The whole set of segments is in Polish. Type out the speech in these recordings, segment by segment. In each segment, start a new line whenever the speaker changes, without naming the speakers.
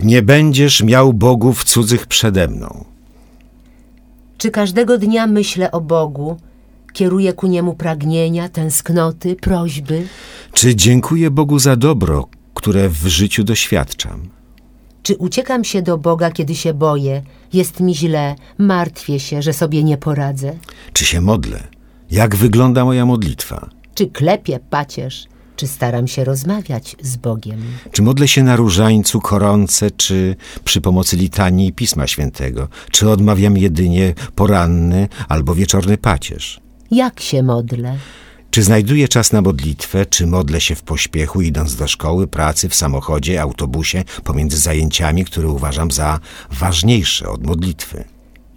Nie będziesz miał bogów cudzych przede mną.
Czy każdego dnia myślę o Bogu, kieruję ku Niemu pragnienia, tęsknoty, prośby?
Czy dziękuję Bogu za dobro, które w życiu doświadczam?
Czy uciekam się do Boga, kiedy się boję, jest mi źle, martwię się, że sobie nie poradzę?
Czy się modlę? Jak wygląda moja modlitwa?
Czy klepię pacierz? Czy staram się rozmawiać z Bogiem?
Czy modlę się na różańcu, koronce, czy przy pomocy litanii i Pisma Świętego? Czy odmawiam jedynie poranny albo wieczorny pacierz?
Jak się modlę?
Czy znajduję czas na modlitwę, czy modlę się w pośpiechu, idąc do szkoły, pracy, w samochodzie, autobusie, pomiędzy zajęciami, które uważam za ważniejsze od modlitwy?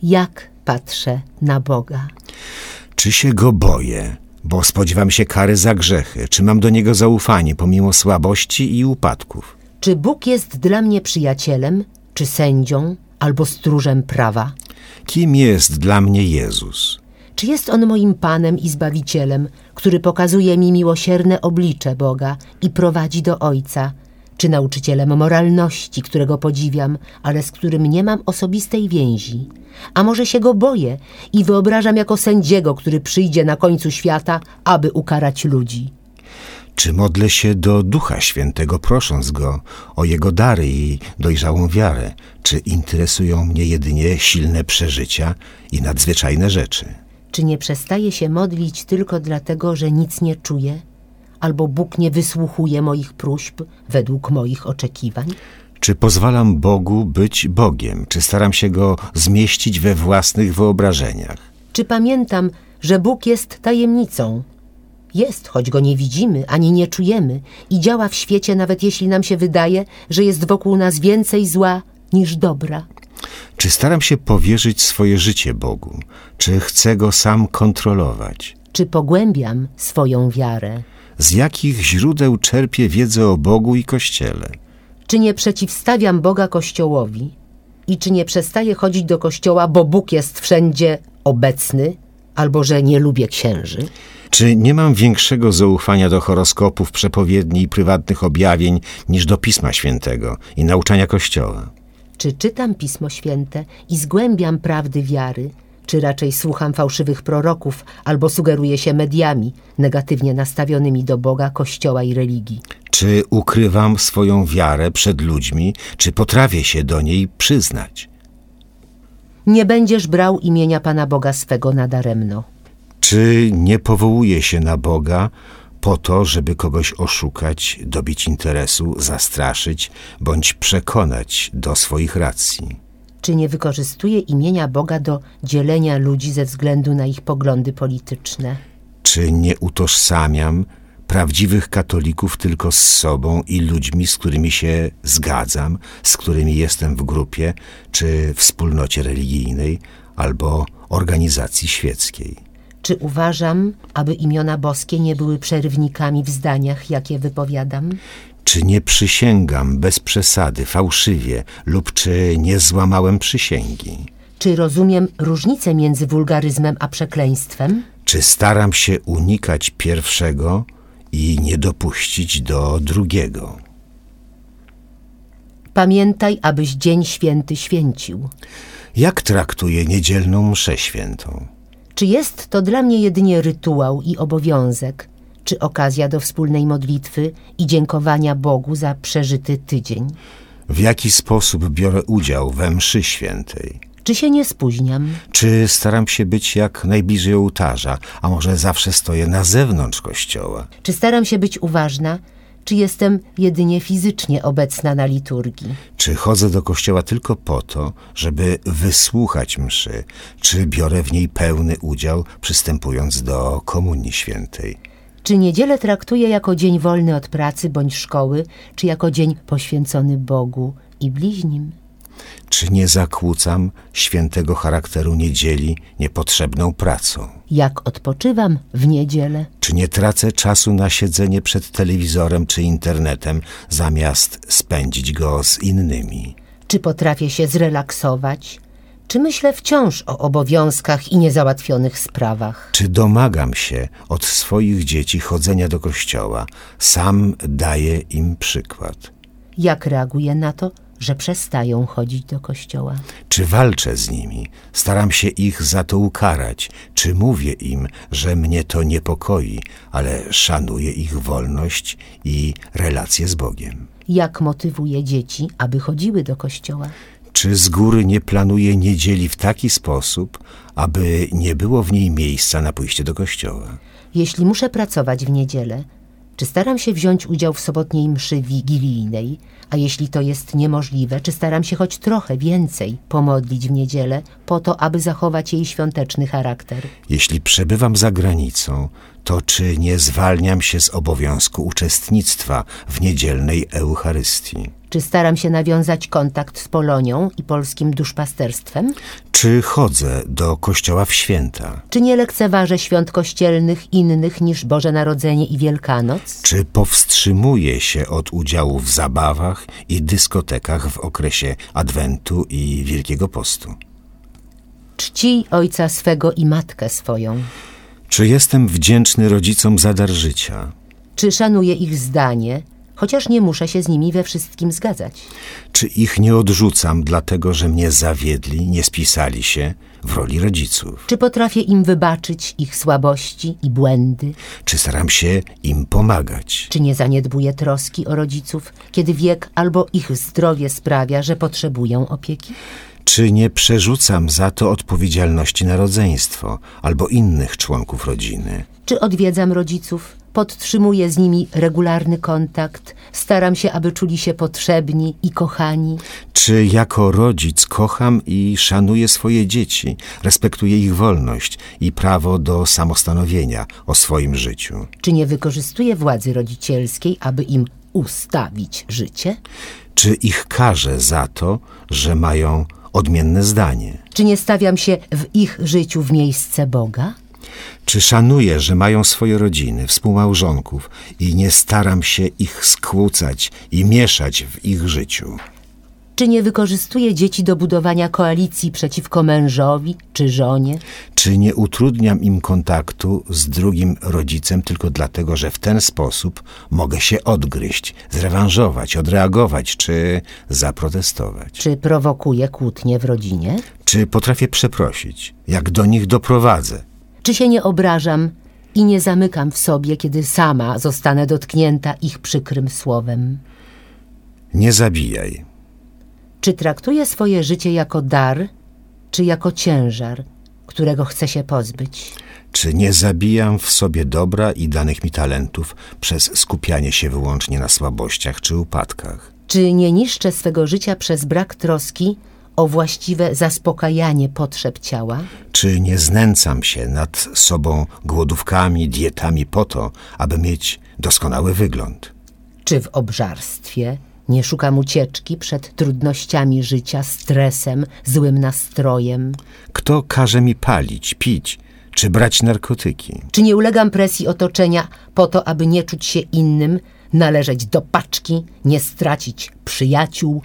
Jak patrzę na Boga?
Czy się go boję, bo spodziewam się kary za grzechy? Czy mam do niego zaufanie pomimo słabości i upadków?
Czy Bóg jest dla mnie przyjacielem, czy sędzią, albo stróżem prawa?
Kim jest dla mnie Jezus?
Czy jest On moim Panem i Zbawicielem, który pokazuje mi miłosierne oblicze Boga i prowadzi do Ojca? Czy nauczycielem moralności, którego podziwiam, ale z którym nie mam osobistej więzi? A może się go boję i wyobrażam jako sędziego, który przyjdzie na końcu świata, aby ukarać ludzi?
Czy modlę się do Ducha Świętego, prosząc go o jego dary i dojrzałą wiarę? Czy interesują mnie jedynie silne przeżycia i nadzwyczajne rzeczy?
Czy nie przestaję się modlić tylko dlatego, że nic nie czuję? Albo Bóg nie wysłuchuje moich próśb według moich oczekiwań?
Czy pozwalam Bogu być Bogiem? Czy staram się go zmieścić we własnych wyobrażeniach?
Czy pamiętam, że Bóg jest tajemnicą? Jest, choć go nie widzimy ani nie czujemy i działa w świecie, nawet jeśli nam się wydaje, że jest wokół nas więcej zła niż dobra.
Czy staram się powierzyć swoje życie Bogu? Czy chcę go sam kontrolować?
Czy pogłębiam swoją wiarę?
Z jakich źródeł czerpię wiedzę o Bogu i Kościele?
Czy nie przeciwstawiam Boga Kościołowi? I czy nie przestaję chodzić do Kościoła, bo Bóg jest wszędzie obecny? Albo że nie lubię księży?
Czy nie mam większego zaufania do horoskopów, przepowiedni i prywatnych objawień niż do Pisma Świętego i nauczania Kościoła?
Czy czytam Pismo Święte i zgłębiam prawdy wiary? Czy raczej słucham fałszywych proroków albo sugeruję się mediami negatywnie nastawionymi do Boga, Kościoła i religii?
Czy ukrywam swoją wiarę przed ludźmi? Czy potrafię się do niej przyznać?
Nie będziesz brał imienia Pana Boga swego nadaremno.
Czy nie powołuję się na Boga po to, żeby kogoś oszukać, dobić interesu, zastraszyć bądź przekonać do swoich racji?
Czy nie wykorzystuje imienia Boga do dzielenia ludzi ze względu na ich poglądy polityczne?
Czy nie utożsamiam prawdziwych katolików tylko z sobą i ludźmi, z którymi się zgadzam, z którymi jestem w grupie czy wspólnocie religijnej albo organizacji świeckiej?
Czy uważam, aby imiona boskie nie były przerwnikami w zdaniach, jakie wypowiadam?
Czy nie przysięgam bez przesady, fałszywie lub czy nie złamałem przysięgi?
Czy rozumiem różnicę między wulgaryzmem a przekleństwem?
Czy staram się unikać pierwszego i nie dopuścić do drugiego?
Pamiętaj, abyś dzień święty święcił.
Jak traktuję niedzielną mszę świętą?
Czy jest to dla mnie jedynie rytuał i obowiązek, czy okazja do wspólnej modlitwy i dziękowania Bogu za przeżyty tydzień?
W jaki sposób biorę udział we mszy świętej?
Czy się nie spóźniam?
Czy staram się być jak najbliżej ołtarza, a może zawsze stoję na zewnątrz kościoła?
Czy staram się być uważna? Czy jestem jedynie fizycznie obecna na liturgii?
Czy chodzę do kościoła tylko po to, żeby wysłuchać mszy? Czy biorę w niej pełny udział, przystępując do Komunii Świętej?
Czy niedzielę traktuję jako dzień wolny od pracy bądź szkoły, czy jako dzień poświęcony Bogu i bliźnim?
Czy nie zakłócam świętego charakteru niedzieli niepotrzebną pracą?
Jak odpoczywam w niedzielę?
Czy nie tracę czasu na siedzenie przed telewizorem czy internetem, zamiast spędzić go z innymi?
Czy potrafię się zrelaksować? Czy myślę wciąż o obowiązkach i niezałatwionych sprawach?
Czy domagam się od swoich dzieci chodzenia do kościoła? Sam daję im przykład.
Jak reaguję na to, że przestają chodzić do kościoła.
Czy walczę z nimi? Staram się ich za to ukarać. Czy mówię im, że mnie to niepokoi, ale szanuję ich wolność i relacje z Bogiem?
Jak motywuje dzieci, aby chodziły do kościoła?
Czy z góry nie planuję niedzieli w taki sposób, aby nie było w niej miejsca na pójście do kościoła?
Jeśli muszę pracować w niedzielę, czy staram się wziąć udział w sobotniej mszy wigilijnej, a jeśli to jest niemożliwe, czy staram się choć trochę więcej pomodlić w niedzielę po to, aby zachować jej świąteczny charakter?
Jeśli przebywam za granicą, to czy nie zwalniam się z obowiązku uczestnictwa w niedzielnej Eucharystii?
Czy staram się nawiązać kontakt z Polonią i polskim duszpasterstwem?
Czy chodzę do kościoła w święta?
Czy nie lekceważę świąt kościelnych innych niż Boże Narodzenie i Wielkanoc?
Czy powstrzymuję się od udziału w zabawach i dyskotekach w okresie Adwentu i Wielkiego Postu?
Czci ojca swego i matkę swoją.
Czy jestem wdzięczny rodzicom za dar życia?
Czy szanuję ich zdanie, chociaż nie muszę się z nimi we wszystkim zgadzać?
Czy ich nie odrzucam dlatego, że mnie zawiedli, nie spisali się w roli rodziców?
Czy potrafię im wybaczyć ich słabości i błędy?
Czy staram się im pomagać?
Czy nie zaniedbuję troski o rodziców, kiedy wiek albo ich zdrowie sprawia, że potrzebują opieki?
Czy nie przerzucam za to odpowiedzialności na rodzeństwo albo innych członków rodziny?
Czy odwiedzam rodziców, podtrzymuję z nimi regularny kontakt, staram się, aby czuli się potrzebni i kochani?
Czy jako rodzic kocham i szanuję swoje dzieci, respektuję ich wolność i prawo do samostanowienia o swoim życiu?
Czy nie wykorzystuję władzy rodzicielskiej, aby im ustawić życie?
Czy ich karzę za to, że mają odmienne zdanie?
Czy nie stawiam się w ich życiu w miejsce Boga?
Czy szanuję, że mają swoje rodziny, współmałżonków i nie staram się ich skłócać i mieszać w ich życiu?
Czy nie wykorzystuję dzieci do budowania koalicji przeciwko mężowi czy żonie?
Czy nie utrudniam im kontaktu z drugim rodzicem tylko dlatego, że w ten sposób mogę się odgryźć, zrewanżować, odreagować czy zaprotestować?
Czy prowokuję kłótnie w rodzinie?
Czy potrafię przeprosić, jak do nich doprowadzę?
Czy się nie obrażam i nie zamykam w sobie, kiedy sama zostanę dotknięta ich przykrym słowem?
Nie zabijaj.
Czy traktuję swoje życie jako dar, czy jako ciężar, którego chcę się pozbyć?
Czy nie zabijam w sobie dobra i danych mi talentów przez skupianie się wyłącznie na słabościach czy upadkach?
Czy nie niszczę swego życia przez brak troski o właściwe zaspokajanie potrzeb ciała?
Czy nie znęcam się nad sobą głodówkami, dietami po to, aby mieć doskonały wygląd?
Czy w obżarstwie nie szukam ucieczki przed trudnościami życia, stresem, złym nastrojem?
Kto każe mi palić, pić czy brać narkotyki?
Czy nie ulegam presji otoczenia po to, aby nie czuć się innym, należeć do paczki, nie stracić przyjaciół?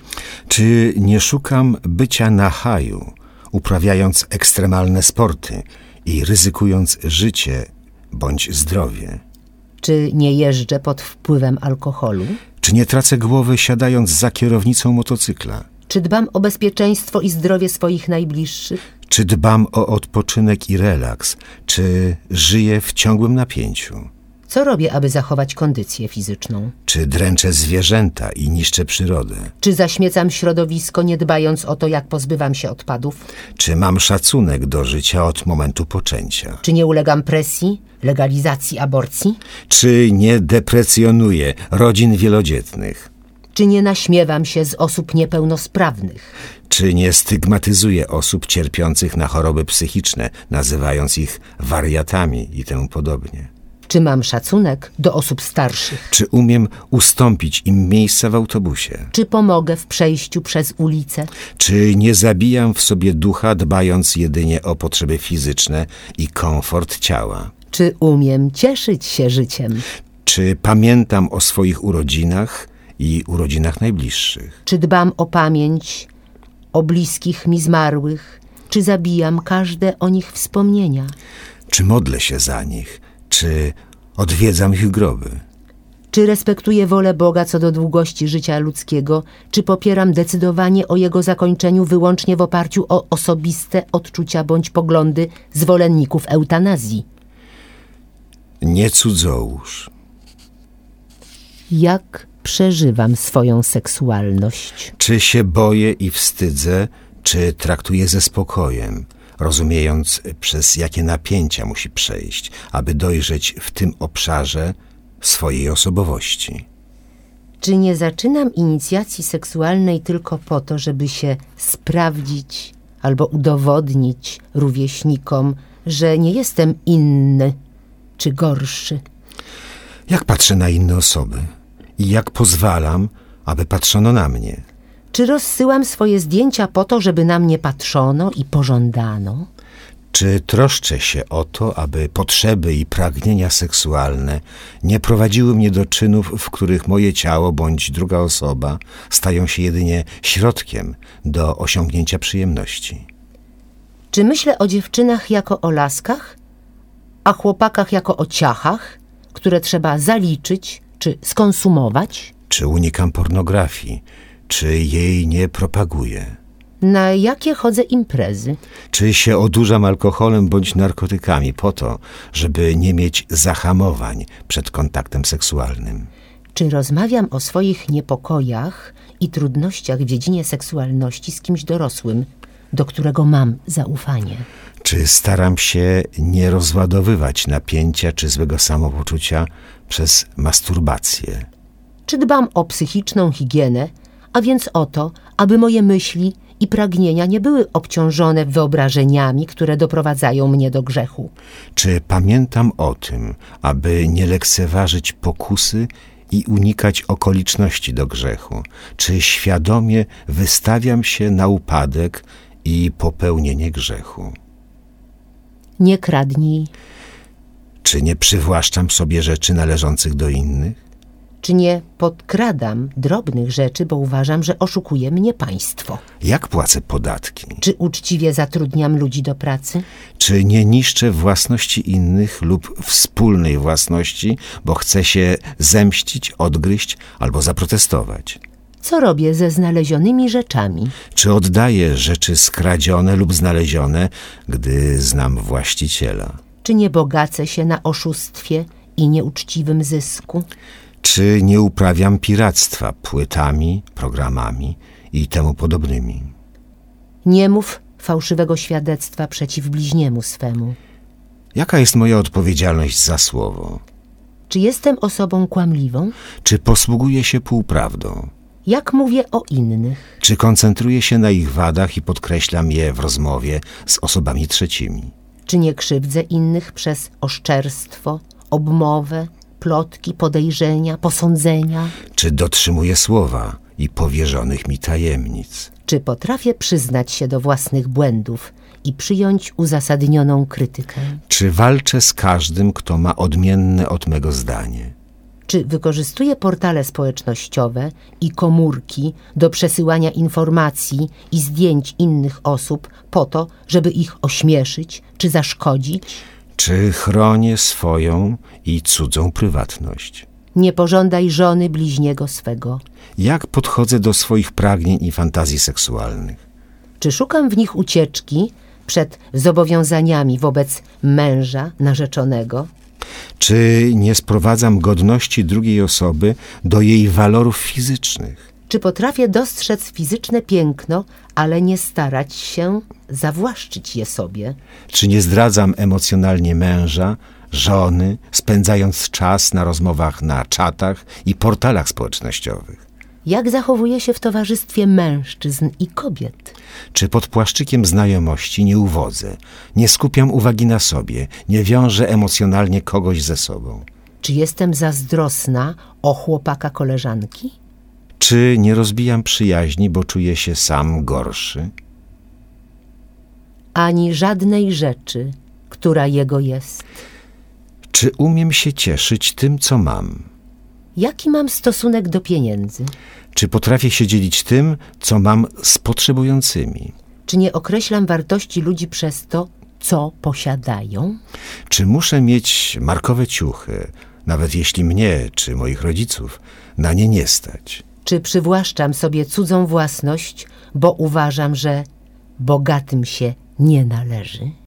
Czy nie szukam bycia na haju, uprawiając ekstremalne sporty i ryzykując życie bądź zdrowie?
Czy nie jeżdżę pod wpływem alkoholu?
Czy nie tracę głowy siadając za kierownicą motocykla?
Czy dbam o bezpieczeństwo i zdrowie swoich najbliższych?
Czy dbam o odpoczynek i relaks? Czy żyję w ciągłym napięciu?
Co robię, aby zachować kondycję fizyczną?
Czy dręczę zwierzęta i niszczę przyrodę?
Czy zaśmiecam środowisko, nie dbając o to, jak pozbywam się odpadów?
Czy mam szacunek do życia od momentu poczęcia?
Czy nie ulegam presji, legalizacji aborcji?
Czy nie deprecjonuję rodzin wielodzietnych?
Czy nie naśmiewam się z osób niepełnosprawnych?
Czy nie stygmatyzuję osób cierpiących na choroby psychiczne, nazywając ich wariatami i temu podobnie?
Czy mam szacunek do osób starszych?
Czy umiem ustąpić im miejsca w autobusie?
Czy pomogę w przejściu przez ulicę?
Czy nie zabijam w sobie ducha, dbając jedynie o potrzeby fizyczne i komfort ciała?
Czy umiem cieszyć się życiem?
Czy pamiętam o swoich urodzinach i urodzinach najbliższych?
Czy dbam o pamięć, o bliskich mi zmarłych? Czy zabijam każde o nich wspomnienia?
Czy modlę się za nich? Czy odwiedzam ich groby?
Czy respektuję wolę Boga co do długości życia ludzkiego, czy popieram decydowanie o jego zakończeniu wyłącznie w oparciu o osobiste odczucia bądź poglądy zwolenników eutanazji?
Nie cudzołóż.
Jak przeżywam swoją seksualność?
Czy się boję i wstydzę, czy traktuję ze spokojem, rozumiejąc przez jakie napięcia musi przejść, aby dojrzeć w tym obszarze swojej osobowości.
Czy nie zaczynam inicjacji seksualnej tylko po to, żeby się sprawdzić albo udowodnić rówieśnikom, że nie jestem inny czy gorszy?
Jak patrzę na inne osoby i jak pozwalam, aby patrzono na mnie.
Czy rozsyłam swoje zdjęcia po to, żeby na mnie patrzono i pożądano?
Czy troszczę się o to, aby potrzeby i pragnienia seksualne nie prowadziły mnie do czynów, w których moje ciało bądź druga osoba stają się jedynie środkiem do osiągnięcia przyjemności?
Czy myślę o dziewczynach jako o laskach, a chłopakach jako o ciachach, które trzeba zaliczyć czy skonsumować?
Czy unikam pornografii? Czy jej nie propaguję?
Na jakie chodzę imprezy?
Czy się odurzam alkoholem bądź narkotykami po to, żeby nie mieć zahamowań przed kontaktem seksualnym?
Czy rozmawiam o swoich niepokojach i trudnościach w dziedzinie seksualności z kimś dorosłym, do którego mam zaufanie?
Czy staram się nie rozładowywać napięcia czy złego samopoczucia przez masturbację?
Czy dbam o psychiczną higienę, a więc o to, aby moje myśli i pragnienia nie były obciążone wyobrażeniami, które doprowadzają mnie do grzechu?
Czy pamiętam o tym, aby nie lekceważyć pokusy i unikać okoliczności do grzechu? Czy świadomie wystawiam się na upadek i popełnienie grzechu?
Nie kradnij.
Czy nie przywłaszczam sobie rzeczy należących do innych?
Czy nie podkradam drobnych rzeczy, bo uważam, że oszukuje mnie państwo?
Jak płacę podatki?
Czy uczciwie zatrudniam ludzi do pracy?
Czy nie niszczę własności innych lub wspólnej własności, bo chcę się zemścić, odgryźć albo zaprotestować?
Co robię ze znalezionymi rzeczami?
Czy oddaję rzeczy skradzione lub znalezione, gdy znam właściciela?
Czy nie bogacę się na oszustwie i nieuczciwym zysku?
Czy nie uprawiam piractwa płytami, programami i temu podobnymi?
Nie mów fałszywego świadectwa przeciw bliźniemu swemu.
Jaka jest moja odpowiedzialność za słowo?
Czy jestem osobą kłamliwą?
Czy posługuję się półprawdą?
Jak mówię o innych?
Czy koncentruję się na ich wadach i podkreślam je w rozmowie z osobami trzecimi?
Czy nie krzywdzę innych przez oszczerstwo, obmowę, plotki, podejrzenia, posądzenia?
Czy dotrzymuję słowa i powierzonych mi tajemnic?
Czy potrafię przyznać się do własnych błędów i przyjąć uzasadnioną krytykę?
Czy walczę z każdym, kto ma odmienne od mego zdanie?
Czy wykorzystuję portale społecznościowe i komórki do przesyłania informacji i zdjęć innych osób po to, żeby ich ośmieszyć czy zaszkodzić?
Czy chronię swoją i cudzą prywatność?
Nie pożądaj żony bliźniego swego.
Jak podchodzę do swoich pragnień i fantazji seksualnych?
Czy szukam w nich ucieczki przed zobowiązaniami wobec męża, narzeczonego?
Czy nie sprowadzam godności drugiej osoby do jej walorów fizycznych?
Czy potrafię dostrzec fizyczne piękno, ale nie starać się zawłaszczyć je sobie?
Czy nie zdradzam emocjonalnie męża, żony, spędzając czas na rozmowach na czatach i portalach społecznościowych?
Jak zachowuję się w towarzystwie mężczyzn i kobiet?
Czy pod płaszczykiem znajomości nie uwodzę, nie skupiam uwagi na sobie, nie wiążę emocjonalnie kogoś ze sobą?
Czy jestem zazdrosna o chłopaka koleżanki?
Czy nie rozbijam przyjaźni, bo czuję się sam gorszy?
Ani żadnej rzeczy, która jego jest.
Czy umiem się cieszyć tym, co mam?
Jaki mam stosunek do pieniędzy?
Czy potrafię się dzielić tym, co mam z potrzebującymi?
Czy nie określam wartości ludzi przez to, co posiadają?
Czy muszę mieć markowe ciuchy, nawet jeśli mnie czy moich rodziców na nie nie stać.
Czy przywłaszczam sobie cudzą własność, bo uważam, że bogatym się nie należy?